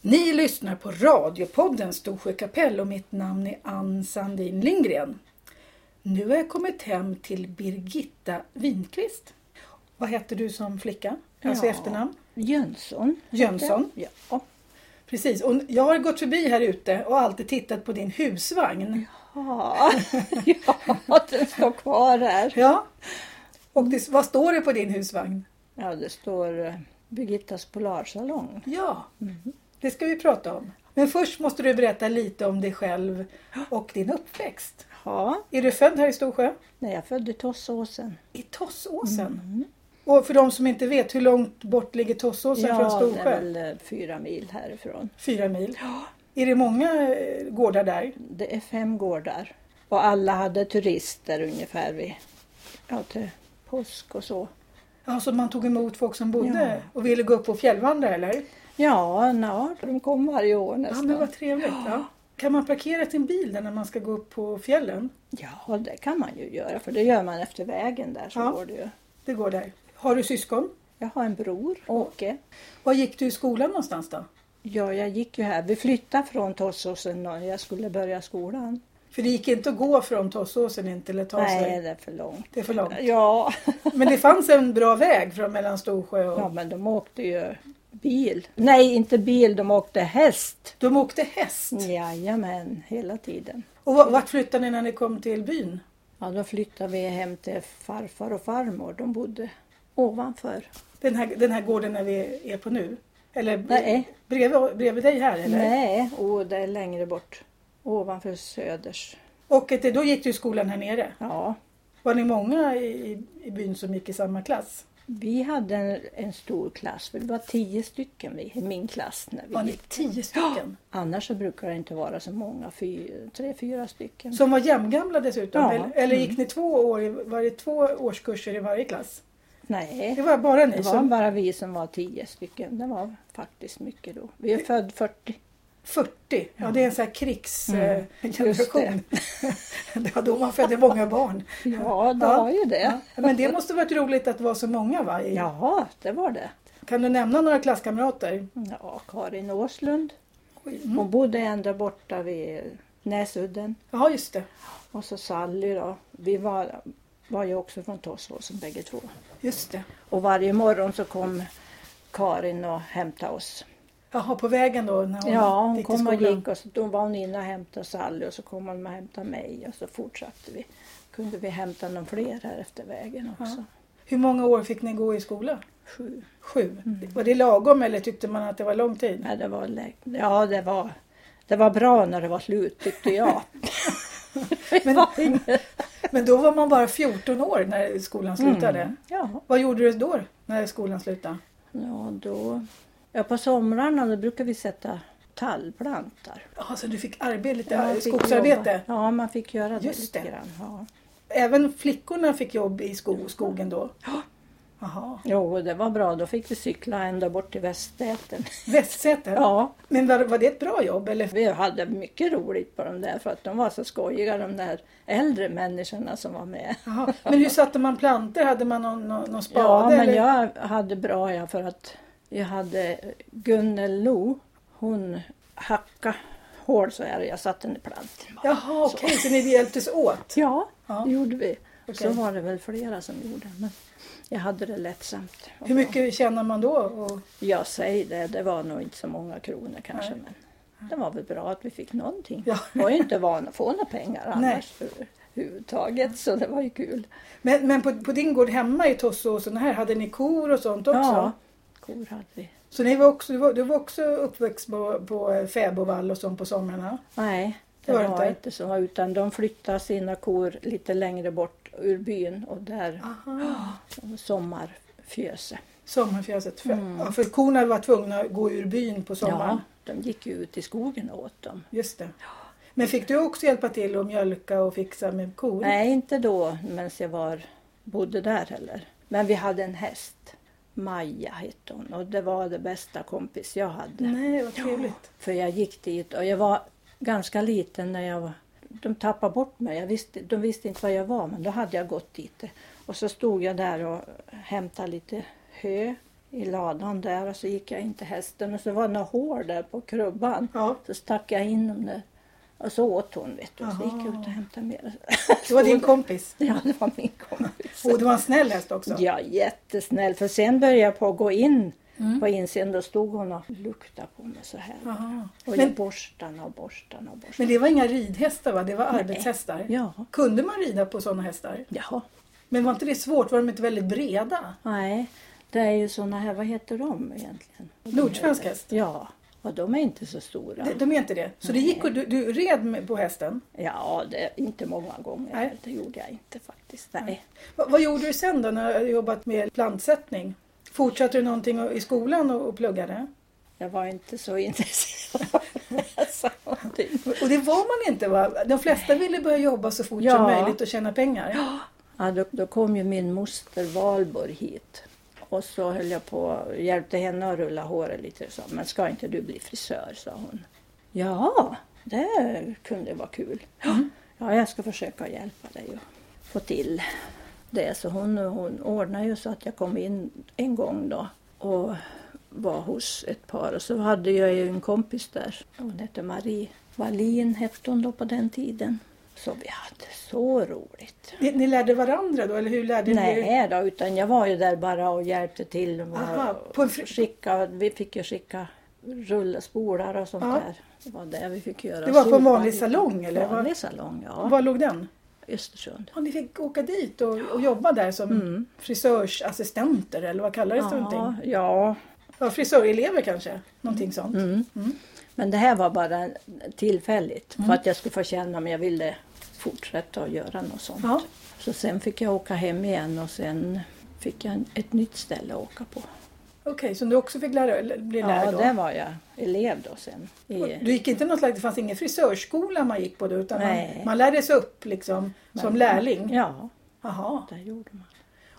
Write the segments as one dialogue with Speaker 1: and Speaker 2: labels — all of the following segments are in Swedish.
Speaker 1: Ni lyssnar på radiopodden Storsjö kapell och mitt namn är Ann Sandin Lindgren. Nu har jag kommit hem till Birgitta Winqvist. Vad heter du som flicka? Alltså i
Speaker 2: Ja.
Speaker 1: efternamn?
Speaker 2: Jönsson.
Speaker 1: Jönsson.
Speaker 2: Ja.
Speaker 1: Precis, och jag har gått förbi här ute och alltid tittat på din husvagn.
Speaker 2: Ja. ja, den står kvar här.
Speaker 1: Ja. Och det, vad står det på din husvagn?
Speaker 2: Ja, det står eh, Birgittas Polarsalong.
Speaker 1: Ja, Mm. det ska vi prata om. Men först måste du berätta lite om dig själv och din uppväxt.
Speaker 2: Ja,
Speaker 1: Är du född här i Storsjö? Mm.
Speaker 2: när jag födde Tossåsen. Mm.
Speaker 1: I Tossåsen? Och för de som inte vet, hur långt bort ligger Tossåsen
Speaker 2: ja,
Speaker 1: från
Speaker 2: det
Speaker 1: Storsjö?
Speaker 2: är väl eh, fyra mil härifrån.
Speaker 1: Fyra mil. Är det många eh, gårdar där?
Speaker 2: Det är fem gårdar. Och alla hade turister ungefär vid, ja, till påsk och så.
Speaker 1: Ja, så man tog emot folk som bodde
Speaker 2: Ja.
Speaker 1: och ville gå upp och fjällvandra eller?
Speaker 2: Ja, na, de kom varje år
Speaker 1: Ja,
Speaker 2: nästan.
Speaker 1: men vad trevligt. Ja. Kan man parkera sin bil där när man ska gå upp på fjällen?
Speaker 2: ja, det kan man ju göra för det gör man efter vägen där så
Speaker 1: Ja.
Speaker 2: går det ju.
Speaker 1: Det går där. Har du syskon?
Speaker 2: Jag har en bror, Åke.
Speaker 1: Var gick du i skolan någonstans då?
Speaker 2: Ja, jag gick ju här. Vi flyttade från Tossåsen när jag skulle börja skolan.
Speaker 1: För det gick inte att gå från Tossåsen in till ta
Speaker 2: Nej,
Speaker 1: sig.
Speaker 2: det är för långt.
Speaker 1: Det är för långt.
Speaker 2: Ja.
Speaker 1: Men det fanns en bra väg från mellan Storsjö och...
Speaker 2: ja, men de åkte ju bil. Nej, inte bil, de åkte häst.
Speaker 1: De åkte häst.
Speaker 2: Mm. Jajamän, hela tiden.
Speaker 1: Och va- vart flyttade ni när ni kom till byn?
Speaker 2: Ja, då flyttade vi hem till farfar och farmor. De bodde ovanför.
Speaker 1: Den här, den här gården där vi är på nu? Eller b-
Speaker 2: Nej.
Speaker 1: Bredvid, bredvid dig här eller?
Speaker 2: Nej, och det är längre bort. Ovanför Söders.
Speaker 1: Och att det, då gick du i skolan här nere?
Speaker 2: Ja,
Speaker 1: Var ni många i, i- i byn som gick i samma klass?
Speaker 2: vi hade en, en stor klass. Vi var tio stycken vi, i min klass när vi
Speaker 1: Var ni
Speaker 2: gick.
Speaker 1: tio stycken?
Speaker 2: Annars så brukar det inte vara så många, fy, tre, fyra stycken.
Speaker 1: Som var jämngamla dessutom?
Speaker 2: Ja. Mm.
Speaker 1: Eller, eller gick ni två år? i- Var det två årskurser i varje klass?
Speaker 2: Nej,
Speaker 1: Det var bara ni
Speaker 2: det var
Speaker 1: som...
Speaker 2: bara vi som var tio stycken. Det var faktiskt mycket då. Vi är född 40.
Speaker 1: 40, ja det är en sån här
Speaker 2: Mm.
Speaker 1: krigsgeneration. det var då man födde många barn.
Speaker 2: Ja, det
Speaker 1: Ja.
Speaker 2: var ju det.
Speaker 1: Men det måste varit roligt att vara så många va? I-
Speaker 2: Ja, det var det.
Speaker 1: Kan du nämna några klasskamrater?
Speaker 2: Ja, Karin Åslund.
Speaker 1: Mm.
Speaker 2: Hon bodde ända borta vid Näsudden.
Speaker 1: Ja just det.
Speaker 2: Och så Sally då. Vi var, var ju också från Tossåsen bägge två.
Speaker 1: just det.
Speaker 2: Och varje morgon så kom Karin och hämtade oss.
Speaker 1: Jaha, på vägen då när hon
Speaker 2: Ja, hon
Speaker 1: gick till
Speaker 2: kom och
Speaker 1: skolan.
Speaker 2: gick och så, då var hon inne och hämtade Sally och så kom hon och hämtade mig och så fortsatte vi. Kunde vi hämta någon fler här efter vägen också?
Speaker 1: Hur många år fick ni gå i skola?
Speaker 2: Sju.
Speaker 1: Sju. Var det lagom eller tyckte man att det var lång tid?
Speaker 2: Mm. Nej, det var, lä- ja, det var, det var bra när det var slut tyckte jag.
Speaker 1: Men, men då var man bara 14 år när skolan
Speaker 2: Mm.
Speaker 1: slutade.
Speaker 2: Ja,
Speaker 1: Vad gjorde du då när skolan slutade?
Speaker 2: ja, då, ja på somrarna då brukar vi sätta tallplantar.
Speaker 1: Ja, så du fick arbeta lite,
Speaker 2: Man fick
Speaker 1: skogsarbete?
Speaker 2: jobba- Ja, man fick göra det
Speaker 1: Just
Speaker 2: lite
Speaker 1: det.
Speaker 2: grann. Ja.
Speaker 1: Även flickorna fick jobb i sko skogen då? Jaha.
Speaker 2: Jo, det var bra. Då fick vi cykla ända bort till Västäten.
Speaker 1: Västsäter?
Speaker 2: Ja,
Speaker 1: Men var, var det ett bra jobb eller?
Speaker 2: Vi hade mycket roligt på de där för att de var så skojiga de där äldre människorna som var med.
Speaker 1: Jaha. Men hur satte man planter? Hade man någon, någon, någon spade?
Speaker 2: Ja, men
Speaker 1: eller?
Speaker 2: jag hade bra ja, för att jag hade Gunnel Lo, hon hacka hål så här och jag satte den i planten. bara.
Speaker 1: Jaha, okej, så ni hjälptes åt?
Speaker 2: Ja,
Speaker 1: Ja.
Speaker 2: det gjorde vi. Och så
Speaker 1: Okej.
Speaker 2: var det väl flera som gjorde, men jag hade det lättsamt. Och
Speaker 1: Hur mycket tjänar man då? Och,
Speaker 2: Jag säger det, det var nog inte så många kronor kanske, men det var väl bra att vi fick någonting.
Speaker 1: Ja.
Speaker 2: Jag var ju inte van att få några pengar
Speaker 1: Nej.
Speaker 2: annars överhuvudtaget, så det var ju kul.
Speaker 1: men men på, på din gård hemma i Tossåsen här, hade ni kor och sånt också?
Speaker 2: Ja, kor hade vi.
Speaker 1: Så ni var också, du, var, du var också uppväxt på, på fäbodvall och sånt på somrarna?
Speaker 2: Nej,
Speaker 1: Det
Speaker 2: det
Speaker 1: var
Speaker 2: var,
Speaker 1: det inte.
Speaker 2: inte så, utan de flyttade sina kor lite längre bort ur byn och där
Speaker 1: Aha.
Speaker 2: sommarfjöse.
Speaker 1: Sommarfjäset. För, ja, för korna var tvungna att gå ur byn på sommaren.
Speaker 2: Mm. Ja, de gick ju ut i skogen och åt dem.
Speaker 1: Just det. Men fick du också hjälpa till och mjölka och fixa med kor?
Speaker 2: Nej, inte då medan jag var, bodde där heller. Men vi hade en häst. Maja hette hon och det var det bästa kompis jag hade.
Speaker 1: Nej, vad trevligt.
Speaker 2: För jag gick dit och jag var ganska liten när jag var... De tappade bort mig. Jag visste, de visste inte vad jag var men då hade jag gått dit. Och så stod jag där och hämtade lite hö i ladan där och så gick jag in till hästen och så var det några hår där på krubban.
Speaker 1: Ja.
Speaker 2: Så stack jag in dem där och så åt hon vet du. Och så
Speaker 1: Jaha.
Speaker 2: gick jag ut och hämtade mer.
Speaker 1: Det var din kompis.
Speaker 2: Ja, det var min kompis.
Speaker 1: Och det var en snäll häst också.
Speaker 2: Ja, jättesnäll. För sen började jag på att gå in
Speaker 1: Mm.
Speaker 2: på insidan. Då stod hon och luktade på mig så här.
Speaker 1: Jaha.
Speaker 2: Och
Speaker 1: Men-
Speaker 2: jag borstade och borstade och borstade.
Speaker 1: Men det var inga ridhästar va? Det var arbetshästar?
Speaker 2: Ja,
Speaker 1: Kunde man rida på sådana hästar?
Speaker 2: jaha.
Speaker 1: Men var inte det svårt? Var de inte väldigt breda?
Speaker 2: Nej, det är ju såna här, vad heter de egentligen?
Speaker 1: Nordsvensk häst?
Speaker 2: Ja, och de är inte så stora.
Speaker 1: De, de är inte det? Så det gick och du, du red med, på hästen?
Speaker 2: Ja, det, inte många gånger.
Speaker 1: Nej.
Speaker 2: Det gjorde jag inte faktiskt. Nej.
Speaker 1: Va, vad gjorde du sen då när du jobbat med plantsättning? Fortsatte du någonting och- i skolan och, och pluggade?
Speaker 2: Jag var inte så intresserad av att läsa någonting.
Speaker 1: Och det var man inte va? De flesta ville börja jobba så fort som
Speaker 2: Ja.
Speaker 1: möjligt och tjäna pengar.
Speaker 2: Ja, då, då kom ju min moster Valborg hit. Och så höll jag på, hjälpte henne att rulla håret lite. Så, men ska inte du bli frisör, sa hon. Ja, det kunde vara kul. Ja, jag ska försöka hjälpa dig att få till det. Så hon, hon ordnade ju så att jag kom in en gång då och var hos ett par. Och så hade jag ju en kompis där. Hon hette Marie Wallin hette hon då på den tiden. Så vi hade så roligt.
Speaker 1: Ni, ni lärde varandra då eller hur lärde ni er?
Speaker 2: Nej då, utan jag var ju där bara och hjälpte till. Och
Speaker 1: Aha, på en fri-
Speaker 2: skicka, vi fick ju skicka rullspolar och sånt
Speaker 1: Ja.
Speaker 2: där. Det var det vi fick göra.
Speaker 1: Det var på en
Speaker 2: Sopa
Speaker 1: vanlig
Speaker 2: lite.
Speaker 1: salong, eller?
Speaker 2: Vanlig salong, ja.
Speaker 1: Var låg den?
Speaker 2: Östersund.
Speaker 1: Ja, ni fick åka dit och, och jobba där som frisörsassistenter eller vad kallades det? för
Speaker 2: Mm. Ja,
Speaker 1: någonting?
Speaker 2: ja.
Speaker 1: Ja, frisörelever kanske? Någonting sånt.
Speaker 2: Mm.
Speaker 1: Mm.
Speaker 2: Men det här var bara tillfälligt för att jag skulle få känna om jag ville fortsätta att göra något sånt.
Speaker 1: Ja.
Speaker 2: Så sen fick jag åka hem igen och sen fick jag en- ett nytt ställe att åka på.
Speaker 1: Okej, så du också fick lära, eller bli
Speaker 2: Ja,
Speaker 1: lärd då?
Speaker 2: där var jag elev då sen.
Speaker 1: Och
Speaker 2: I,
Speaker 1: Du gick inte något slags, det fanns ingen frisörskola man gick på då utan
Speaker 2: Nej.
Speaker 1: man, man lärdes upp liksom som lärling?
Speaker 2: ja,
Speaker 1: Jaha.
Speaker 2: där gjorde man.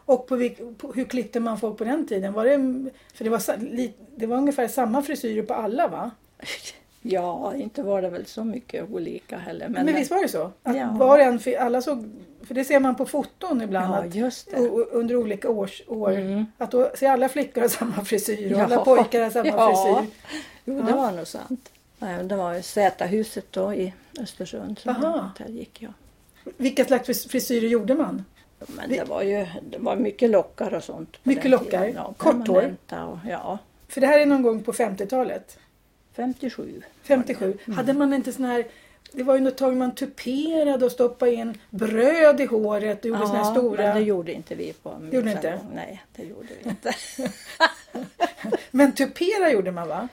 Speaker 1: Och på, vilk- på, hur klippte man folk på den tiden? Var det, för det var, sa- li, det var ungefär samma frisyrer på alla va?
Speaker 2: Ja, inte var det väl så mycket olika heller. Men,
Speaker 1: Men, visst var det så? Att
Speaker 2: Ja.
Speaker 1: var och en, för alla såg, för det ser man på foton ibland
Speaker 2: Ja,
Speaker 1: att
Speaker 2: just det.
Speaker 1: o- o- under olika års, år.
Speaker 2: Mm.
Speaker 1: Att då ser alla flickor har samma frisyr och
Speaker 2: Ja.
Speaker 1: alla pojkar har samma
Speaker 2: Ja.
Speaker 1: frisyr.
Speaker 2: Jo,
Speaker 1: Ja.
Speaker 2: det var nog sant. Nej, men Det var ju Z-huset då i Östersund. Som
Speaker 1: Aha.
Speaker 2: jag, där gick jag.
Speaker 1: Vilka slags fris- frisyrer gjorde man?
Speaker 2: Men
Speaker 1: Vi-
Speaker 2: det var ju det var mycket lockar och sånt. på
Speaker 1: Mycket
Speaker 2: den
Speaker 1: lockar.
Speaker 2: tiden, ja,
Speaker 1: Kort hår.
Speaker 2: permanenta Och, ja,
Speaker 1: För det här är någon gång på 50-talet.
Speaker 2: 57.
Speaker 1: 57. Hade man inte sån här det var ju något tag man tuperade och stoppade in bröd i håret och gjorde såna här stora...
Speaker 2: men det gjorde inte vi på min
Speaker 1: Gjorde ni inte?
Speaker 2: salong. Nej, det gjorde vi inte.
Speaker 1: Men tupera gjorde man va?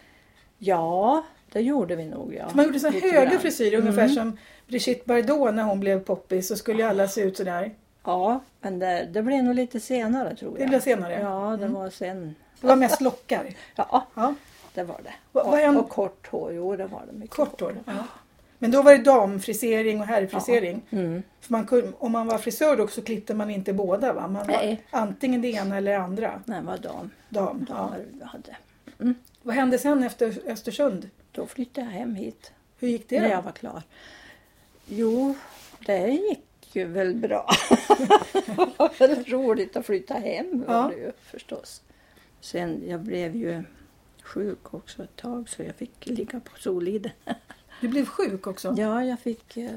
Speaker 2: ja, det gjorde vi nog ja. Mm.
Speaker 1: Man gjorde såna
Speaker 2: Lite
Speaker 1: höga
Speaker 2: grann.
Speaker 1: frisyrer ungefär som Brigitte Bardot när hon blev poppis så skulle ju alla se ut sådär.
Speaker 2: Ja, men det, det blev nog lite senare tror jag.
Speaker 1: Det blev senare. Mm.
Speaker 2: Ja, det var sen.
Speaker 1: Det var mest lockar.
Speaker 2: Ja,
Speaker 1: Ja,
Speaker 2: Det var det.
Speaker 1: Vad- vad är en-
Speaker 2: och, och kort hår, jo det var det. Mycket
Speaker 1: kort hår. Ja. Men då var det damfrisering och herrfrisering.
Speaker 2: Mm.
Speaker 1: För man kunde, om man var frisör då så klippte man inte båda va? Man var
Speaker 2: Nej.
Speaker 1: antingen det ena eller det andra.
Speaker 2: Nej, vad dam,
Speaker 1: Dam. Ja.
Speaker 2: damer vi hade.
Speaker 1: Vad hände sen efter Östersund?
Speaker 2: Då flyttade jag hem hit
Speaker 1: Hur gick det?
Speaker 2: när
Speaker 1: då?
Speaker 2: jag var klar. Jo, det gick ju väl bra. det var väl roligt att flytta hem var
Speaker 1: Ja.
Speaker 2: det ju förstås. Sen, jag blev ju sjuk också ett tag så jag fick ligga på Soliden.
Speaker 1: Du blev sjuk också?
Speaker 2: Ja, jag fick eh,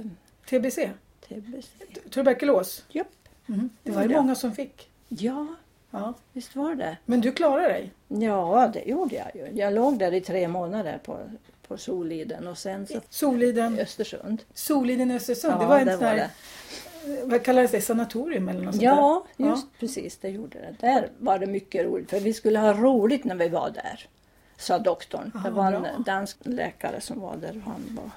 Speaker 1: TBC?
Speaker 2: TBC.
Speaker 1: Tuberkulos?
Speaker 2: Japp.
Speaker 1: Mhm. Det var ju
Speaker 2: Ja.
Speaker 1: många som fick.
Speaker 2: Ja,
Speaker 1: Ja.
Speaker 2: visst var det.
Speaker 1: Men du klarade dig?
Speaker 2: Ja, det gjorde jag ju. Jag låg där i tre månader på, på Soliden och sen så
Speaker 1: Soliden?
Speaker 2: Östersund.
Speaker 1: Soliden i Östersund,
Speaker 2: Ja,
Speaker 1: det var en
Speaker 2: det
Speaker 1: sån
Speaker 2: var
Speaker 1: här, vad kallades det, sanatorium eller något sånt
Speaker 2: Ja,
Speaker 1: där?
Speaker 2: just precis, det gjorde det. Där var det mycket roligt, för vi skulle ha roligt när vi var där, sa doktorn.
Speaker 1: Aha,
Speaker 2: det var en
Speaker 1: bra.
Speaker 2: dansk läkare som var där och han var...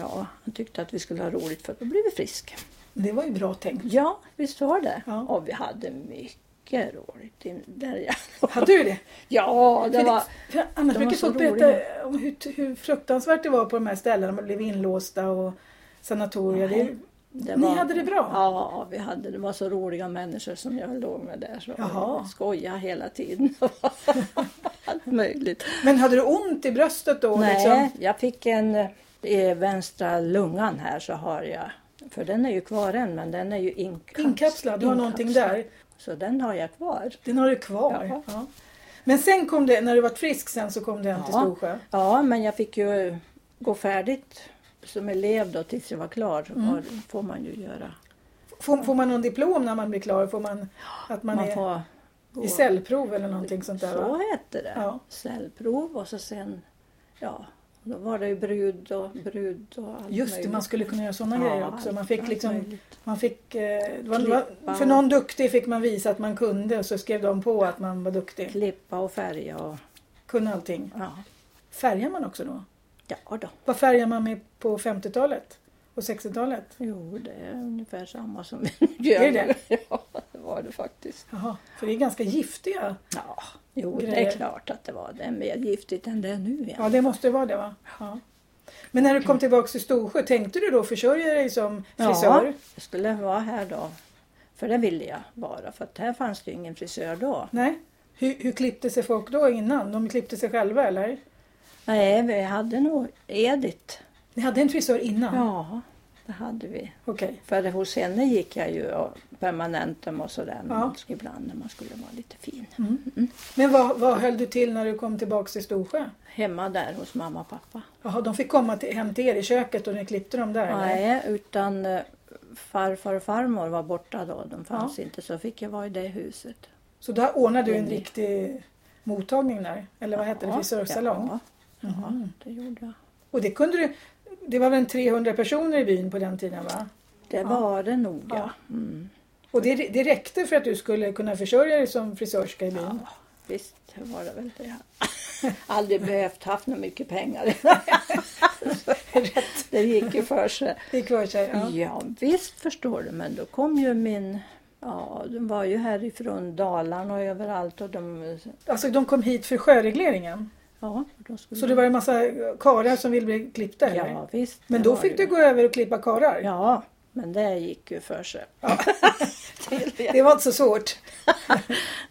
Speaker 2: Ja, han tyckte att vi skulle ha roligt för då blev vi friska.
Speaker 1: Det var ju bra tänkt.
Speaker 2: Ja, visst var det.
Speaker 1: Ja.
Speaker 2: Och vi hade mycket roligt in, där jag
Speaker 1: Hade du det?
Speaker 2: Ja, det
Speaker 1: För
Speaker 2: var...
Speaker 1: för annars
Speaker 2: de
Speaker 1: brukar
Speaker 2: var så
Speaker 1: folk berätta om hur, hur fruktansvärt det var på de här ställena. Man blev inlåsta och sanatorier. Det,
Speaker 2: Nej, det
Speaker 1: ni
Speaker 2: var-
Speaker 1: hade det bra?
Speaker 2: Ja, vi hade, det var så roliga människor som jag låg med där. Så
Speaker 1: Jaha.
Speaker 2: jag skojade hela tiden. Allt möjligt.
Speaker 1: Men hade du ont i bröstet då?
Speaker 2: Nej,
Speaker 1: Liksom?
Speaker 2: jag fick en i vänstra lungan här så har jag, för den är ju kvar än, men den är ju inkapslad.
Speaker 1: Inkapslad, du har någonting där.
Speaker 2: Så den har jag kvar.
Speaker 1: Den har du kvar.
Speaker 2: Ja.
Speaker 1: Ja. Men sen kom det, när du var frisk sen så kom du hem till
Speaker 2: Ja.
Speaker 1: Storsjö?
Speaker 2: Ja, men jag fick ju gå färdigt som elev då tills jag var klar. Så
Speaker 1: Mm.
Speaker 2: var, får man ju göra.
Speaker 1: Får, får man någon diplom när man blir klar? Får man att man,
Speaker 2: Man,
Speaker 1: är
Speaker 2: får
Speaker 1: i cellprov eller någonting sånt där?
Speaker 2: Så
Speaker 1: va?
Speaker 2: hette det.
Speaker 1: Ja.
Speaker 2: Cellprov och så sen, ja, då var det ju brud och brud och allt
Speaker 1: Just det,
Speaker 2: möjligt.
Speaker 1: man skulle kunna göra sådana
Speaker 2: Ja,
Speaker 1: grejer också. Man
Speaker 2: allt-
Speaker 1: fick
Speaker 2: allt
Speaker 1: liksom,
Speaker 2: möjligt.
Speaker 1: man fick, eh, det var, det var,
Speaker 2: Klippa
Speaker 1: för
Speaker 2: och-
Speaker 1: någon duktig fick man visa att man kunde och så skrev de på att man var duktig.
Speaker 2: Klippa och färga och
Speaker 1: Kunde allting.
Speaker 2: ja.
Speaker 1: Färgar man också då?
Speaker 2: Ja då.
Speaker 1: Vad färgar man med på 50-talet och 60-talet?
Speaker 2: Jo, det är ungefär samma som vi nu gör.
Speaker 1: Är det
Speaker 2: nu. Ja, det var det faktiskt.
Speaker 1: Jaha, för det är ganska giftiga.
Speaker 2: Ja, jo, det
Speaker 1: Grejer.
Speaker 2: är klart att det var. Det är mer giftigt än det är nu.
Speaker 1: Ja, det måste vara det va? Ja. Men när du kom tillbaka till Storsjö, tänkte du då försörja dig som frisör?
Speaker 2: Mm. Ja, jag skulle vara här då. För det ville jag bara, för att här fanns det ju ingen frisör då.
Speaker 1: Nej. Hur, hur klippte sig folk då innan? De klippte sig själva eller?
Speaker 2: Nej, vi hade nog Edith.
Speaker 1: Ni hade en frisör innan?
Speaker 2: Ja, det hade vi.
Speaker 1: Okej.
Speaker 2: För hos henne gick jag ju och permanentum och sådär men
Speaker 1: Ja.
Speaker 2: ibland när man skulle vara lite fin.
Speaker 1: Men vad, vad höll du till när du kom tillbaka till Storsjö?
Speaker 2: Hemma där hos mamma och pappa.
Speaker 1: Jaha, de fick komma till, hem till er i köket och ni klippte dem där? eller?
Speaker 2: Nej, utan eh, farfar och farmor var borta då. De fanns inte så fick jag vara i det huset.
Speaker 1: Så där ordnade du en
Speaker 2: Mm.
Speaker 1: riktig mottagning där? Eller vad hette det? Frisörsalong? Mhm.
Speaker 2: Ja, ja det gjorde jag.
Speaker 1: Och det kunde du... Det var väl en 300 personer i byn på den tiden va?
Speaker 2: Det var det nog ja. Mm.
Speaker 1: Och det, det räckte för att du skulle kunna försörja dig som frisörska i byn?
Speaker 2: ja. Visst var det väl det. Aldrig behövt haft något mycket pengar. det gick ju för sig.
Speaker 1: Det gick för sig? Ja.
Speaker 2: Ja, visst förstår du, men då kom ju min... Ja, de var ju härifrån Dalarna och överallt och de...
Speaker 1: Alltså de kom hit för sjöregleringen?
Speaker 2: Ja, de skulle...
Speaker 1: Så det var en massa karlar som ville bli klippta? eller?
Speaker 2: Ja, visst.
Speaker 1: Men
Speaker 2: det
Speaker 1: då
Speaker 2: var
Speaker 1: fick
Speaker 2: ju-
Speaker 1: du gå över och klippa karlar?
Speaker 2: Ja, men det gick ju för sig.
Speaker 1: Det var inte så svårt.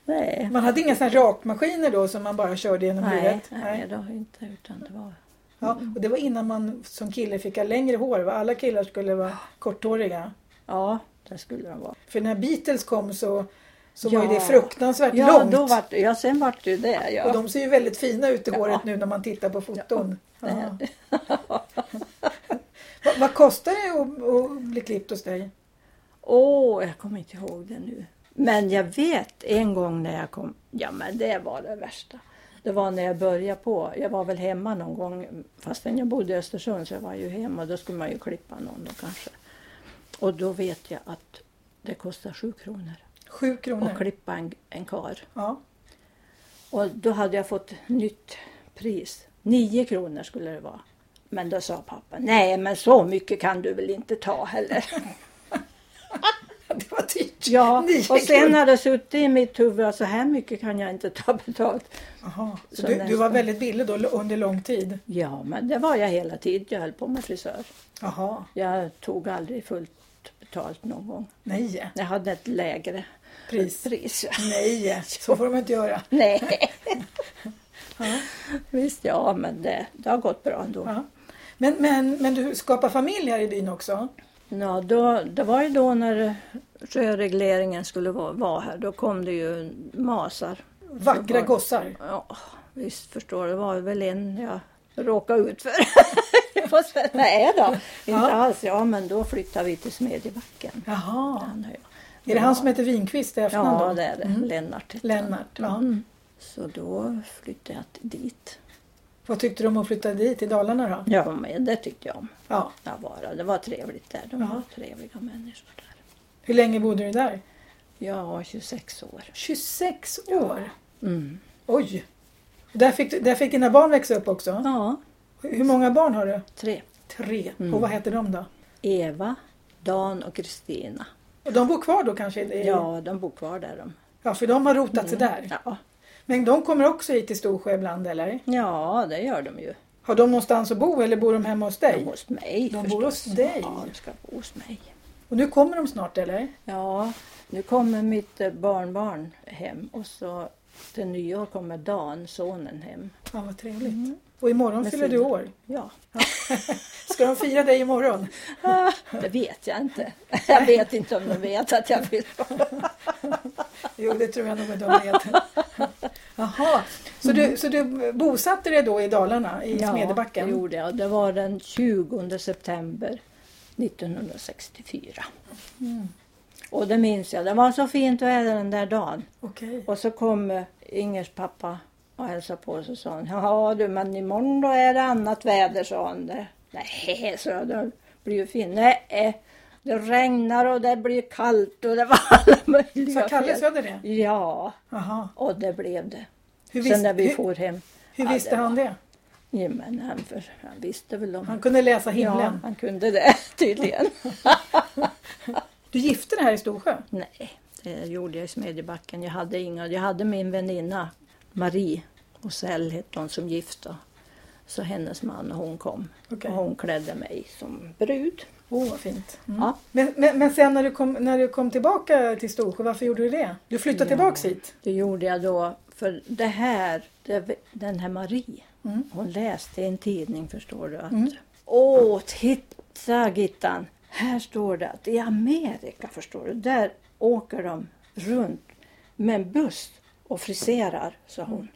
Speaker 2: nej,
Speaker 1: Man hade inga såna här rakmaskiner då som man bara körde genom
Speaker 2: nej,
Speaker 1: huvudet?
Speaker 2: nej, det har jag inte, utan det var...
Speaker 1: Ja, och det var innan man som kille fick ha längre hår. Va? Alla killar skulle vara korthåriga.
Speaker 2: Ja, det skulle de vara.
Speaker 1: För när Beatles kom så, så var ju
Speaker 2: Ja.
Speaker 1: det fruktansvärt
Speaker 2: Ja,
Speaker 1: långt.
Speaker 2: då var, ja sen vart det ju det. Ja.
Speaker 1: Och de ser ju väldigt fina ut i
Speaker 2: Ja.
Speaker 1: håret nu när man tittar på foton. Ja.
Speaker 2: Ja.
Speaker 1: Va, vad kostar det att, att bli klippt hos dig?
Speaker 2: Åh, jag kommer inte ihåg det nu. Men jag vet en gång när jag kom, ja men det var det värsta. Det var när jag började på, jag var väl hemma någon gång fastän jag bodde i Östersund så jag var ju hemma och då skulle man ju klippa någon då kanske. Och då vet jag att det kostar sju kronor
Speaker 1: Sju kronor?
Speaker 2: att klippa en, en kar.
Speaker 1: Ja.
Speaker 2: Och då hade jag fått nytt pris. Nio kronor skulle det vara. Men då sa pappa, nej men så mycket kan du väl inte ta heller.
Speaker 1: Det var dyrt.
Speaker 2: Ja,
Speaker 1: Nio
Speaker 2: och sen
Speaker 1: kronor.
Speaker 2: har det suttit i mitt huvud att så här mycket kan jag inte ta betalt.
Speaker 1: Jaha, så
Speaker 2: Så
Speaker 1: du, du
Speaker 2: nästan.
Speaker 1: var väldigt billig då under lång tid?
Speaker 2: Ja, men det var jag hela tiden. Jag höll på med frisör.
Speaker 1: Jaha,
Speaker 2: Jag tog aldrig fullt betalt någon gång.
Speaker 1: nej.
Speaker 2: Jag hade ett lägre
Speaker 1: Pris?
Speaker 2: pris.
Speaker 1: Nej, så får de inte göra.
Speaker 2: Nej,
Speaker 1: Ja.
Speaker 2: visst ja, men det, det har gått bra ändå.
Speaker 1: Ja. Men, men, men du skapar familj här i byn också?
Speaker 2: Ja, då, det var ju då när sjöregleringen skulle vara, vara här. Då kom det ju masar.
Speaker 1: Vackra
Speaker 2: var-
Speaker 1: gossar.
Speaker 2: Ja, visst förstår du. Det var väl en jag råkade ut för. Fast, Nej då, inte
Speaker 1: Ja.
Speaker 2: alls. Ja, men då flyttade vi till Smedjebacken.
Speaker 1: Jaha.
Speaker 2: Han har jag.
Speaker 1: Är det han som heter Winqvist i efternamn
Speaker 2: Ja,
Speaker 1: då?
Speaker 2: det är det. Mm. Lennart heter han.
Speaker 1: Mm. Lennart. Ja.
Speaker 2: Så då flyttade jag till- dit.
Speaker 1: Vad tyckte du om att flytta dit, till Dalarna då?
Speaker 2: Ja. Men det tyckte jag om.
Speaker 1: Ja.
Speaker 2: att vara. Det var trevligt där. De
Speaker 1: Ja.
Speaker 2: var trevliga människor där.
Speaker 1: Hur länge bodde du där?
Speaker 2: Ja, 26 år.
Speaker 1: 26 år?
Speaker 2: Mm.
Speaker 1: Oj! Där fick, du- där fick dina barn växa upp också?
Speaker 2: Ja,
Speaker 1: Hur många barn har du?
Speaker 2: tre. Mm.
Speaker 1: Tre. Och vad heter de då?
Speaker 2: Eva, Dan och Kristina.
Speaker 1: Och de bor kvar då kanske? i-
Speaker 2: Ja, de bor kvar där de.
Speaker 1: ja för de har rotat sig där.
Speaker 2: Mm. Ja.
Speaker 1: Men de kommer också hit till Storsjö ibland eller?
Speaker 2: ja, det gör de ju.
Speaker 1: Har de någonstans att bo eller bor de hemma hos dig?
Speaker 2: De hos mig
Speaker 1: De bor
Speaker 2: förstås.
Speaker 1: hos dig.
Speaker 2: Ja, de ska bo hos mig.
Speaker 1: Och nu kommer de snart eller?
Speaker 2: Ja, nu kommer mitt eh, barnbarn hem och så Till nyår kommer Dan, sonen, hem.
Speaker 1: Ja, vad trevligt.
Speaker 2: Mm.
Speaker 1: Och imorgon
Speaker 2: Med
Speaker 1: fyller du
Speaker 2: sina.
Speaker 1: år.
Speaker 2: Ja,
Speaker 1: Ska de fira dig imorgon?
Speaker 2: Ah, det vet jag inte. Jag vet inte om de vet att jag vill.
Speaker 1: Jo, det tror jag nog att de vet. Jaha, så
Speaker 2: Mm.
Speaker 1: du, så du bosatte dig då i Dalarna, i Smedjebacken?
Speaker 2: det gjorde jag. Det var den 20 september 1964. Mm. Och det minns jag. Det var så fint väder den där dagen.
Speaker 1: Okej.
Speaker 2: Och så kom eh, Ingers pappa och hälsade på oss och sa han, ja du men imorgon då är det annat väder sa han. Det- Nej, sa jag, det blir ju fint. Nej, eh, det regnar och det blir kallt och det var alla möjliga
Speaker 1: Sa Kalle
Speaker 2: fel.
Speaker 1: Söder det?
Speaker 2: Ja,
Speaker 1: Jaha.
Speaker 2: och det blev det.
Speaker 1: Hur
Speaker 2: Sen
Speaker 1: visste,
Speaker 2: när vi
Speaker 1: hur,
Speaker 2: for hem.
Speaker 1: hur
Speaker 2: Ja,
Speaker 1: visste
Speaker 2: det
Speaker 1: han det?
Speaker 2: Ja, men han, för, han visste väl om
Speaker 1: Han kunde läsa
Speaker 2: Ja,
Speaker 1: himlen.
Speaker 2: han kunde det tydligen.
Speaker 1: Du gifte dig här i Storsjö?
Speaker 2: Nej, det gjorde jag i Smedjebacken. Jag hade, inga, jag hade min väninna Marie Osell hette hon som gift. då. Så hennes man och hon kom.
Speaker 1: Okej.
Speaker 2: Och hon klädde mig som brud.
Speaker 1: Åh, vad fint.
Speaker 2: Ja.
Speaker 1: Men, men, men sen när du, kom, när du kom tillbaka till Storsjö, varför gjorde du det? Du flyttade
Speaker 2: Ja.
Speaker 1: tillbaks hit?
Speaker 2: Det gjorde jag då för det här, det, den här Marie, hon läste i en tidning förstår du att
Speaker 1: Mm.
Speaker 2: Åh, titta Gittan! Här står det att i Amerika förstår du, där åker de runt med en buss och friserar, sa hon.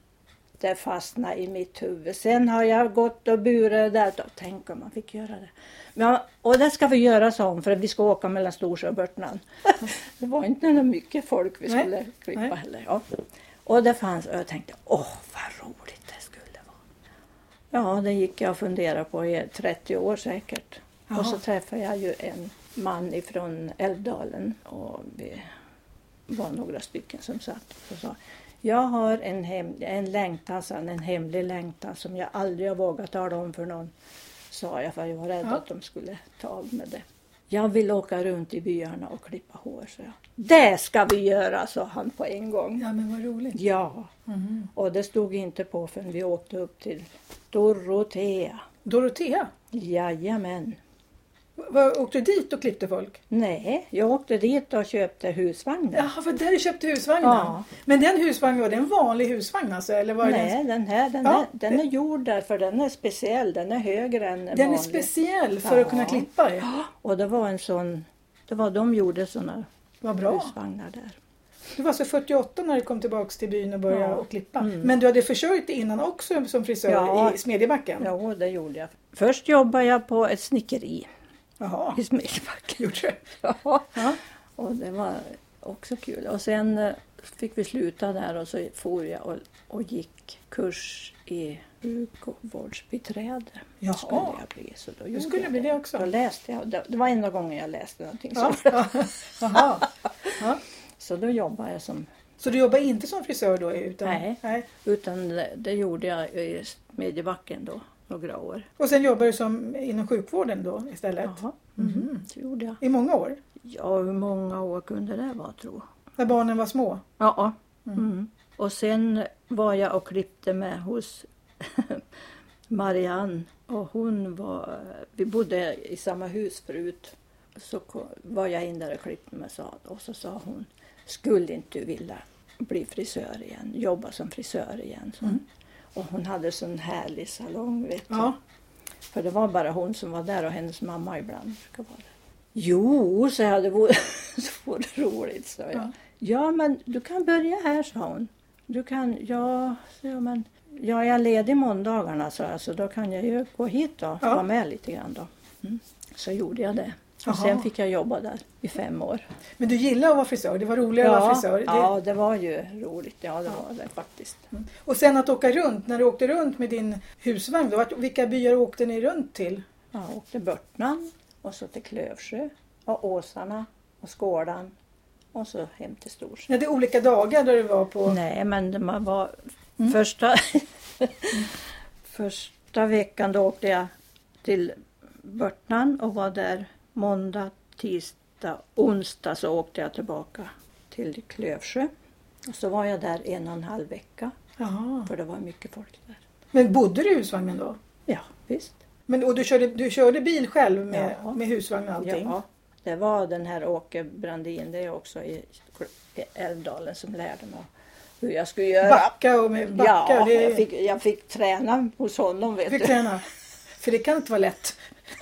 Speaker 2: Det fastnade i mitt huvud. Sen har jag gått och burat det där. Då, tänk om man fick göra det. Men, och det ska vi göra, sa hon, för vi ska åka mellan Storsjö och Börtnan. det var inte något mycket folk vi
Speaker 1: Nej.
Speaker 2: skulle klippa
Speaker 1: Nej.
Speaker 2: heller. Ja. Och det fanns och jag tänkte, åh vad roligt det skulle vara. Ja, det gick jag och funderade på i 30 år säkert.
Speaker 1: Jaha.
Speaker 2: Och så träffade jag ju en man ifrån Älvdalen och vi var några stycken som satt och sa jag har en, hem, en längtan, sa han, en hemlig längtan som jag aldrig har vågat tala om för någon. Sa jag för jag var rädd
Speaker 1: Ja.
Speaker 2: att de skulle ta av med det. Jag vill åka runt i byarna och klippa hår, sa jag. Det ska vi göra, sa han på en gång.
Speaker 1: Ja, men vad roligt.
Speaker 2: Ja, och det stod inte på förrän vi åkte upp till Dorotea.
Speaker 1: Dorotea?
Speaker 2: Jajamän.
Speaker 1: Var, åkte du dit och klippte folk?
Speaker 2: Nej, jag åkte dit och köpte husvagnen.
Speaker 1: Jaha, var där du köpte husvagnen?
Speaker 2: Ja.
Speaker 1: Men den husvagnen, var det en vanlig husvagn alltså? Eller var det
Speaker 2: Nej, den här den,
Speaker 1: Ja,
Speaker 2: är, den är gjord där för den är speciell. Den är högre än
Speaker 1: Den, den är
Speaker 2: vanlig.
Speaker 1: speciell för att
Speaker 2: Ja.
Speaker 1: kunna klippa i.
Speaker 2: Och det var en sån, det var de gjorde såna
Speaker 1: Vad bra.
Speaker 2: husvagnar där.
Speaker 1: Du var alltså 48 när du kom tillbaks till byn och började
Speaker 2: Ja. Mm.
Speaker 1: och klippa. Men du hade försörjt dig innan också som frisör
Speaker 2: Ja.
Speaker 1: i Smedjebacken?
Speaker 2: Ja, det gjorde jag. Först jobbade jag på ett snickeri
Speaker 1: Jaha,
Speaker 2: i Smedjebacken.
Speaker 1: gjorde du?
Speaker 2: Ja.
Speaker 1: Ja.
Speaker 2: Och det var också kul. Och sen eh, fick vi sluta där och så for jag och, och gick kurs i sjukvårdsbiträde.
Speaker 1: Jaha.
Speaker 2: Skulle jag bli. Så då
Speaker 1: Du
Speaker 2: gjorde
Speaker 1: skulle
Speaker 2: jag
Speaker 1: bli det också?
Speaker 2: Då läste jag. Det det var enda gången jag läste någonting.
Speaker 1: Ja.
Speaker 2: Så,
Speaker 1: Jaha. Ja.
Speaker 2: så då jobbade jag som...
Speaker 1: Så du jobbar inte som frisör då? Utan,
Speaker 2: Nej. Utan det, det gjorde jag i Smedjebacken då, några år.
Speaker 1: Och sen jobbar du som inom sjukvården då istället? Mhm.
Speaker 2: Jaha. Mm. Så gjorde jag.
Speaker 1: I många år?
Speaker 2: Ja, hur många år kunde det vara tro?
Speaker 1: När barnen var små?
Speaker 2: Ja. Mm. Och sen var jag och klippte med hos Marianne och hon var, vi bodde i samma hus förut. Så ko- var jag in där och klippte med sa, och så sa hon, skulle inte du vilja bli frisör igen, jobba som frisör igen? Så. Och hon hade sån härlig salong vet du.
Speaker 1: Ja.
Speaker 2: För det var bara hon som var där och hennes mamma ibland brukar vara där. Jo, sa jag, det vore, det vore roligt, sa jag.
Speaker 1: Ja.
Speaker 2: Ja. men du kan börja här, sa hon. Du kan, ja, sa jag, men jag är ledig måndagarna, sa jag, så då kan jag ju gå hit och
Speaker 1: Ja.
Speaker 2: vara med lite grann då. Mm. Så gjorde jag det. Och
Speaker 1: Jaha.
Speaker 2: sen fick jag jobba där i fem år.
Speaker 1: Men du gillar att vara frisör? Det var roligare att vara frisör? Det-
Speaker 2: ja, det var ju roligt. Ja, det var det faktiskt.
Speaker 1: Och sen att åka runt, när du åkte runt med din husvagn, då, vart- vilka byar åkte ni runt till?
Speaker 2: Jag åkte Börtnan och så till Klövsjö och Åsarna och Skålan och så hem till Storsjö.
Speaker 1: Ni hade olika dagar där du var på...
Speaker 2: Nej, men det- man var första, första veckan då åkte jag till Börtnan och var där måndag, tisdag, onsdag så åkte jag tillbaka till Klövsjö. Och så var jag där en och en halv vecka
Speaker 1: Jaha.
Speaker 2: för det var mycket folk där.
Speaker 1: Men bodde du i husvagnen då?
Speaker 2: Ja, visst.
Speaker 1: Men, och du körde, du körde bil själv med,
Speaker 2: Ja.
Speaker 1: med husvagn och allting?
Speaker 2: Ja, det var den här Åke Brandin, det är också i i Älvdalen som lärde mig hur jag skulle göra.
Speaker 1: Backa och med backa.
Speaker 2: ja,
Speaker 1: det
Speaker 2: jag, fick, jag fick träna hos honom. Vet
Speaker 1: fick
Speaker 2: du.
Speaker 1: träna. För det kan inte vara lätt.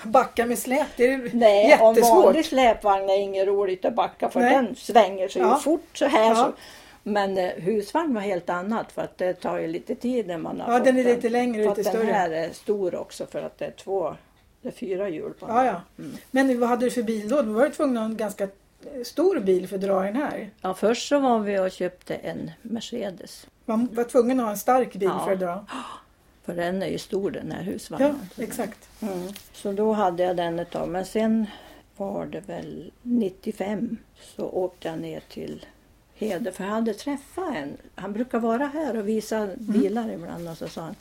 Speaker 1: Backa med släp, det är
Speaker 2: Nej, och en
Speaker 1: jättesvårt.
Speaker 2: vanlig släpvagn är inget roligt att backa för
Speaker 1: Nej.
Speaker 2: den svänger sig ju
Speaker 1: Ja.
Speaker 2: fort så här.
Speaker 1: Ja.
Speaker 2: Så. Men eh, husvagn var helt annat för att det tar ju lite tid när man har
Speaker 1: Ja,
Speaker 2: fått
Speaker 1: den är lite längre,
Speaker 2: Fast
Speaker 1: lite större.
Speaker 2: Den här är stor också för att det är två, det är fyra hjul på den.
Speaker 1: Ja, ja.
Speaker 2: Mm.
Speaker 1: Men vad hade du för bil då? Du var ju tvungen att ha en ganska eh, stor bil för att dra den här.
Speaker 2: Ja, först så var vi och köpte en Mercedes.
Speaker 1: Man var tvungen att ha en stark bil
Speaker 2: Ja.
Speaker 1: för att dra.
Speaker 2: För den är ju stor den här
Speaker 1: Ja,
Speaker 2: husvagnen.
Speaker 1: exakt.
Speaker 2: Mm. Så då hade jag den ett tag. Men sen var det väl 95 så åkte jag ner till Hede för jag hade träffat en. Han brukar vara här och
Speaker 1: Mm.
Speaker 2: visa bilar ibland och så sa han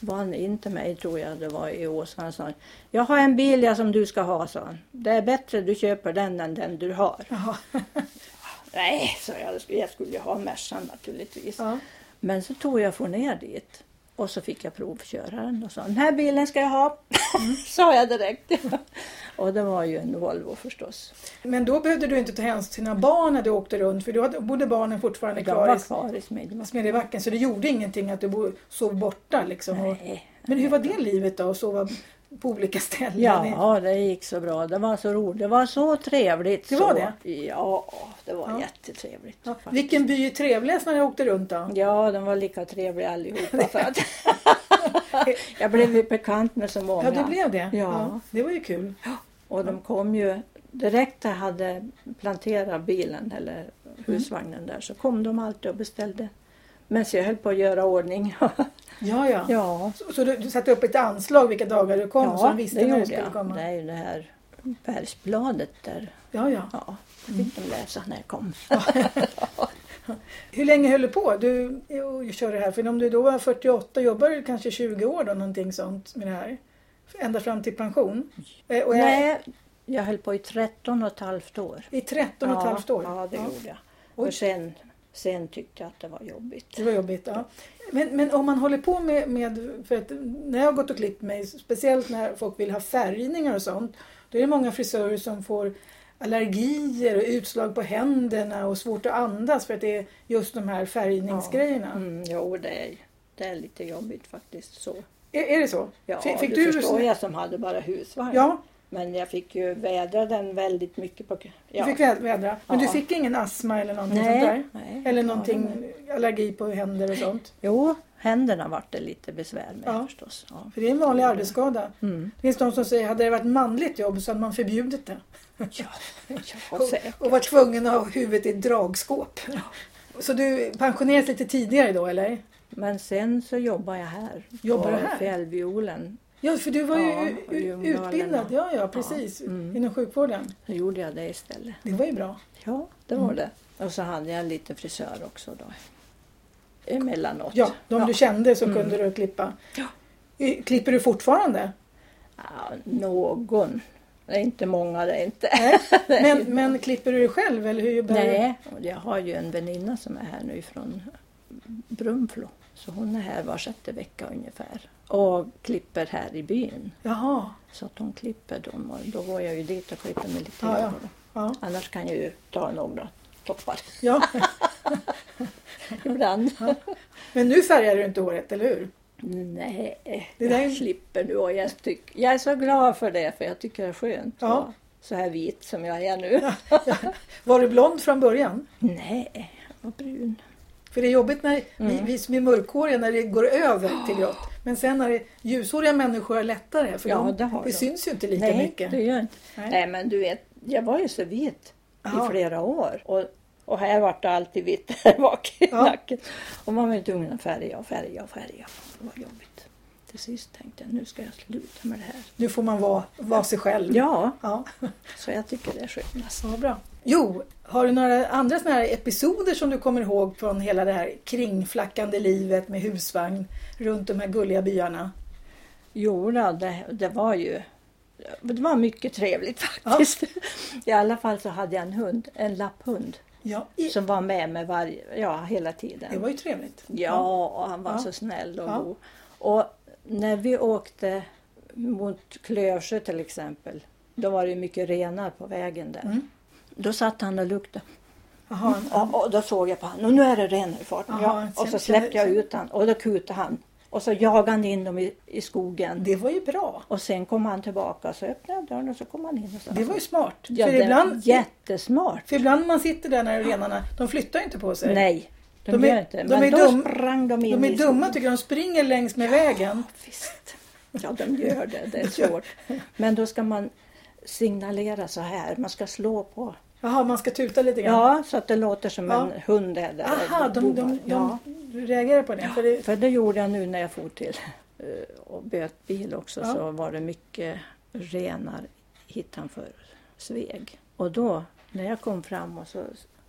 Speaker 2: var han inte mig tror jag det var i Åsa. Han sa jag har en bil jag som du ska ha sa han. Det är bättre du köper den än den du har.
Speaker 1: Jaha.
Speaker 2: Nej, så jag, skulle- jag skulle ju ha Mercan naturligtvis.
Speaker 1: Ja.
Speaker 2: Men så tog jag för ner dit och så fick jag provköra den och sa den här bilen ska jag ha. Mm. sa jag direkt. och det var ju en Volvo förstås.
Speaker 1: Men då behövde du inte ta hänsyn till dina barn när du åkte runt för då hade- bodde barnen fortfarande
Speaker 2: De
Speaker 1: kvar
Speaker 2: var
Speaker 1: i
Speaker 2: kvar i Smedjebacken.
Speaker 1: Smedjebacken så det gjorde ingenting att du bo- sov borta liksom. Och-
Speaker 2: Nej.
Speaker 1: Men hur var det livet då att sova på olika ställen?
Speaker 2: Ja, det gick så bra. Det var så roligt. Det var så trevligt.
Speaker 1: Det var
Speaker 2: så. Ja, det var jättetrevligt.
Speaker 1: Ja.
Speaker 2: faktiskt.
Speaker 1: Vilken by är trevligast när du åkte runt då?
Speaker 2: Ja, de var lika trevliga allihopa. För att jag blev ju bekant med så många.
Speaker 1: Ja, det blev det.
Speaker 2: Ja.
Speaker 1: Det var ju kul.
Speaker 2: Och de kom ju direkt när jag hade planterat bilen eller
Speaker 1: Mm.
Speaker 2: husvagnen där så kom de alltid och beställde. Men så jag höll på att göra ordning.
Speaker 1: Ja, ja.
Speaker 2: ja,
Speaker 1: Så, så du, du satte upp ett anslag vilka dagar du kom så
Speaker 2: ja
Speaker 1: de
Speaker 2: det
Speaker 1: visste när du
Speaker 2: gjorde
Speaker 1: skulle
Speaker 2: jag.
Speaker 1: komma?
Speaker 2: Det är ju det här Bergsbladet där.
Speaker 1: Ja, ja.
Speaker 2: Ja, det fick
Speaker 1: Mm.
Speaker 2: de läsa när jag kom.
Speaker 1: Hur länge höll du på? Du och körde det här? För om du då var 48 jobbade du kanske 20 år då någonting sånt med det här? Ända fram till pension? Eh, Och jag,
Speaker 2: Nej, jag höll på i 13 och ett halvt år.
Speaker 1: I 13 och ett
Speaker 2: ja,
Speaker 1: halvt år?
Speaker 2: Ja, det gjorde jag.
Speaker 1: Oj.
Speaker 2: Och sen, sen tyckte jag att det var jobbigt.
Speaker 1: Det var jobbigt. Ja. Men, men om man håller på med, med för att när jag har gått och klippt mig, speciellt när folk vill ha färgningar och sånt, då är det många frisörer som får allergier och utslag på händerna och svårt att andas för att det är just de här färgningsgrejerna.
Speaker 2: Mm, jo, det är, det är lite jobbigt faktiskt. så.
Speaker 1: Är, är det så?
Speaker 2: Ja,
Speaker 1: Fick- fick
Speaker 2: du,
Speaker 1: du-
Speaker 2: förstår jag som hade bara husvagn.
Speaker 1: Ja,
Speaker 2: Men jag fick ju vädra den väldigt mycket. På,
Speaker 1: du
Speaker 2: ja.
Speaker 1: fick vä- vädra. Men
Speaker 2: Ja.
Speaker 1: du fick ingen astma eller någonting
Speaker 2: Nej,
Speaker 1: sånt där?
Speaker 2: nej.
Speaker 1: Eller
Speaker 2: Ja,
Speaker 1: någonting allergi på händer och sånt?
Speaker 2: Jo, händerna vart det lite besvär med
Speaker 1: Ja.
Speaker 2: förstås. Ja.
Speaker 1: För det är en vanlig arbetsskada.
Speaker 2: Mm.
Speaker 1: Det finns de som säger, hade det varit manligt jobb så hade man förbjudit det.
Speaker 2: Ja, ja,
Speaker 1: Och,
Speaker 2: säkert.
Speaker 1: och var tvungen att ha huvudet i ett dragskåp. Så du pensionerades lite tidigare då eller?
Speaker 2: Men sen så jobbar jag här.
Speaker 1: Jobbar
Speaker 2: på
Speaker 1: du här?
Speaker 2: Fjällviolen.
Speaker 1: Ja, för du var
Speaker 2: Ja,
Speaker 1: ju
Speaker 2: och
Speaker 1: u-
Speaker 2: Ljungdalen.
Speaker 1: utbildad. Ja, ja, precis.
Speaker 2: mm.
Speaker 1: Inom sjukvården.
Speaker 2: Då gjorde jag det istället.
Speaker 1: Det var ju bra.
Speaker 2: Ja, det
Speaker 1: Mm.
Speaker 2: var det. Och så hade jag lite frisör också då. Emellanåt.
Speaker 1: Ja, de du kände så kunde du klippa. I- Klipper du fortfarande?
Speaker 2: Ja, någon. Det är inte många det är inte.
Speaker 1: Men, men klipper du dig själv eller hur jobbar du?
Speaker 2: Nej, och jag har ju en väninna som är här nu från Brunflo. Så hon är här var sjätte vecka ungefär och klipper här i byn.
Speaker 1: Jaha.
Speaker 2: Så att hon klipper dem och då går jag ju dit och klipper mig lite
Speaker 1: Ja, ja.
Speaker 2: grann. då.
Speaker 1: Ja.
Speaker 2: Annars kan jag ju ta några toppar
Speaker 1: ja.
Speaker 2: ibland.
Speaker 1: Men nu färgar du inte håret, eller hur?
Speaker 2: Nej,
Speaker 1: Det där är-
Speaker 2: jag slipper nu och jag, tyck, jag är så glad för det för jag tycker det är skönt att
Speaker 1: Ja.
Speaker 2: vara så här vit som jag är nu.
Speaker 1: Var du blond från början?
Speaker 2: Nej, vad brun.
Speaker 1: För det är jobbigt när
Speaker 2: Mm.
Speaker 1: vi, vi som är mörkhåriga när det går över till grått. Men sen när det, ljushåriga människor är lättare för
Speaker 2: Ja,
Speaker 1: de,
Speaker 2: det har de.
Speaker 1: syns ju inte lika
Speaker 2: Nej,
Speaker 1: mycket.
Speaker 2: det gör jag inte.
Speaker 1: Nej.
Speaker 2: Nej. men du vet, jag var ju så vit
Speaker 1: Ja.
Speaker 2: i flera år. Och, och här vart det alltid vitt här bak i
Speaker 1: Ja.
Speaker 2: nacken. Och man var ju tvungen att färga och färga och färga. Det var jobbigt. Till sist tänkte jag, nu ska jag sluta med det här.
Speaker 1: Nu får man vara, vara sig själv.
Speaker 2: Ja,
Speaker 1: Ja.
Speaker 2: så jag tycker det är skönast.
Speaker 1: ja, bra. Jo, har du några andra såna här episoder som du kommer ihåg från hela det här kringflackande livet med husvagn runt de här gulliga byarna?
Speaker 2: Jo, då, det, det var ju det var mycket trevligt faktiskt. I alla fall så hade jag en hund, en lapphund,
Speaker 1: Ja, i,
Speaker 2: som var med mig varje, ja, hela tiden.
Speaker 1: det var ju trevligt.
Speaker 2: Ja, och han var
Speaker 1: Ja.
Speaker 2: så snäll och
Speaker 1: Ja.
Speaker 2: god. Och när vi åkte mot Klövsjö till exempel, då var det ju mycket renar på vägen där.
Speaker 1: Mm.
Speaker 2: Då satt han och luktade.
Speaker 1: Jaha,
Speaker 2: Ja, och då såg jag på honom och nu är det ren i farten.
Speaker 1: Jaha,
Speaker 2: ja, och så
Speaker 1: sen-
Speaker 2: släppte jag
Speaker 1: sen-
Speaker 2: ut honom och då kutade han. Och så jagade han in dem i, i skogen.
Speaker 1: det var ju bra.
Speaker 2: Och sen kom han tillbaka så öppnade jag dörren och så kom han in. Och så.
Speaker 1: Det var ju smart.
Speaker 2: ja,
Speaker 1: för,
Speaker 2: det
Speaker 1: ibland,
Speaker 2: var jättesmart.
Speaker 1: för ibland när man sitter där när renarna, de flyttar ju inte på sig.
Speaker 2: Nej, de,
Speaker 1: De är-
Speaker 2: gör inte.
Speaker 1: de
Speaker 2: Men
Speaker 1: är
Speaker 2: då
Speaker 1: dum-
Speaker 2: sprang de in
Speaker 1: De
Speaker 2: i
Speaker 1: är dumma tycker jag, de springer längs med vägen.
Speaker 2: Visst. Ja, de gör det. Det är svårt. Men då ska man signalera så här. Man ska slå på.
Speaker 1: Jaha, man ska tuta lite grann.
Speaker 2: Ja, så att det låter som
Speaker 1: Ja.
Speaker 2: en hund. Eller
Speaker 1: Aha, de, de,
Speaker 2: ja.
Speaker 1: de, reagerar på det. För det
Speaker 2: För det gjorde jag nu när jag for till eh, och böt bil också.
Speaker 1: Ja.
Speaker 2: Så var det mycket renar hittanför Sveg. Och då, när jag kom fram och så...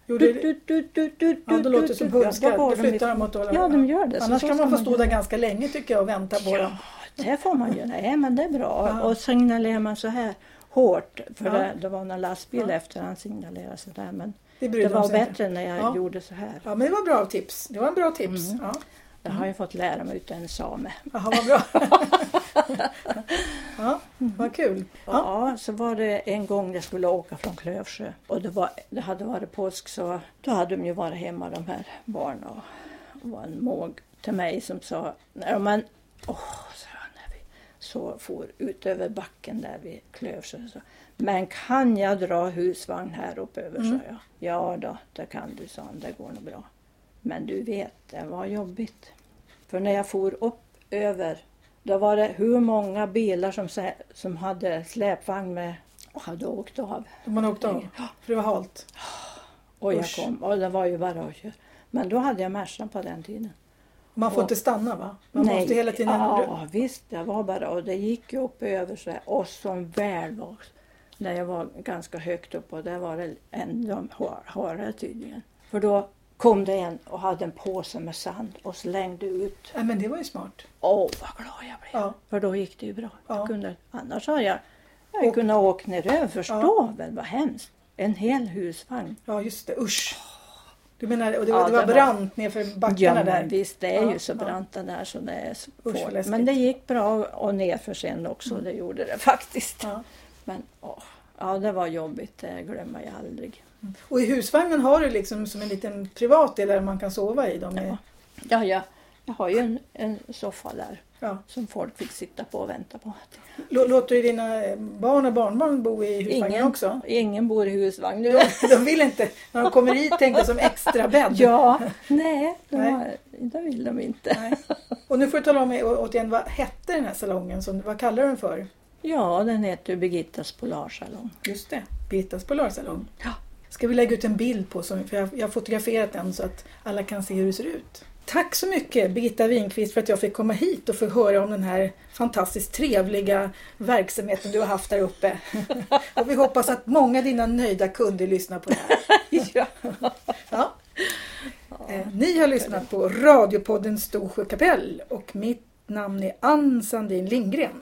Speaker 1: gjorde,
Speaker 2: Du, du, du, du, du,
Speaker 1: ja,
Speaker 2: du,
Speaker 1: då låter
Speaker 2: du,
Speaker 1: det som
Speaker 2: du. Ja,
Speaker 1: hundskall.
Speaker 2: var
Speaker 1: Då
Speaker 2: går de
Speaker 1: flyttar de åt
Speaker 2: ifrån? Ja, de gör det. Så
Speaker 1: Annars
Speaker 2: så
Speaker 1: kan
Speaker 2: ska
Speaker 1: man få stå
Speaker 2: göra.
Speaker 1: där ganska länge tycker jag och vänta på dem.
Speaker 2: Ja, det får man ju. Nej, men det är bra.
Speaker 1: Ja.
Speaker 2: Och signalerar man så här hårt, för
Speaker 1: Ja.
Speaker 2: det, det var någon lastbil
Speaker 1: Ja.
Speaker 2: efter han signalerade så där, men
Speaker 1: Det bryr
Speaker 2: det
Speaker 1: de
Speaker 2: var
Speaker 1: sig inte.
Speaker 2: bättre när jag
Speaker 1: Ja.
Speaker 2: gjorde så här.
Speaker 1: Ja, men det var bra tips. Det var en bra tips.
Speaker 2: Mm.
Speaker 1: Ja.
Speaker 2: Det har jag fått lära mig utav en same.
Speaker 1: Jaha, vad bra. ja, vad kul. Ja.
Speaker 2: Ja. så var det en gång jag skulle åka från Klövsjö och det, var, det hade varit påsk så då hade de ju varit hemma de här barnen och, och var en måg till mig som sa, nej men åh, sa jag när vi så for ut över backen där vid Klövsjö. Så, men kan jag dra husvagn här uppe över, sa jag. Ja då, det kan du, sa han, det går nog bra. Men du vet, det var jobbigt. För när jag for upp över, då var det hur många bilar som, sä- som hade släpvagn med och hade åkt av.
Speaker 1: Man åkte av, för det var halt.
Speaker 2: Och jag
Speaker 1: Usch.
Speaker 2: kom och det var ju bara att köra. Men då hade jag Mercan på den tiden.
Speaker 1: Man får
Speaker 2: Och-
Speaker 1: inte stanna va? Man måste hela tiden...
Speaker 2: Ja, visst, det var bara och det gick ju upp över så här. Och som väl var, när jag var ganska högt upp och där var det ändå har- harare tydligen. För då kom det en och hade en påse med sand och slängde ut
Speaker 1: Ja, men det var ju smart.
Speaker 2: Åh, vad glad jag blev.
Speaker 1: Ja.
Speaker 2: För då gick det ju bra.
Speaker 1: Ja.
Speaker 2: Jag kunde, annars hade jag, jag hade kunnat åka ner över. Förstå väl vad hemskt. En hel husvagn.
Speaker 1: Ja, just det. Usch. Du menar, och det var,
Speaker 2: Ja,
Speaker 1: det var
Speaker 2: det var-
Speaker 1: brant nerför backarna
Speaker 2: men
Speaker 1: där.
Speaker 2: visst, det är
Speaker 1: Ja,
Speaker 2: ju så
Speaker 1: ja.
Speaker 2: brant det där så det är
Speaker 1: vad
Speaker 2: svårt.
Speaker 1: läskigt. Mm.
Speaker 2: Men det gick bra och nerför sen också. Det gjorde det faktiskt.
Speaker 1: Ja.
Speaker 2: Men åh, ja, det var jobbigt. Det glömmer jag aldrig.
Speaker 1: Och i husvagnen har du liksom som en liten privat del där man kan sova i. Dem.
Speaker 2: Ja.
Speaker 1: Ja.
Speaker 2: Ja, jag, jag har ju en, en soffa där
Speaker 1: Ja.
Speaker 2: som folk fick sitta på och vänta på.
Speaker 1: Lå- Låter du dina eh, barn och barnbarn bo i husvagnen också?
Speaker 2: ingen bor i husvagn nu.
Speaker 1: De vill inte, när de kommer hit, tänka som extra bädd.
Speaker 2: Ja, nej, de
Speaker 1: Nej.
Speaker 2: Har, det vill de inte.
Speaker 1: Nej. Och nu får du tala om eh, å- återigen, vad hette den här salongen? Som, vad kallar du den för?
Speaker 2: Ja, den heter ju Birgittas Polarsalong.
Speaker 1: Just det, Birgittas Polarsalong.
Speaker 2: Ja.
Speaker 1: Ska vi lägga ut en bild på, som, för jag, jag har fotograferat den så att alla kan se hur det ser ut. Tack så mycket Birgitta Winqvist för att jag fick komma hit och få höra om den här fantastiskt trevliga verksamheten du har haft där uppe. och vi hoppas att många av dina nöjda kunder lyssnar på det här.
Speaker 2: Ja.
Speaker 1: Ja. Eh, Ni har lyssnat på radiopodden Storsjö kapell och mitt namn är Ann Sandin Lindgren.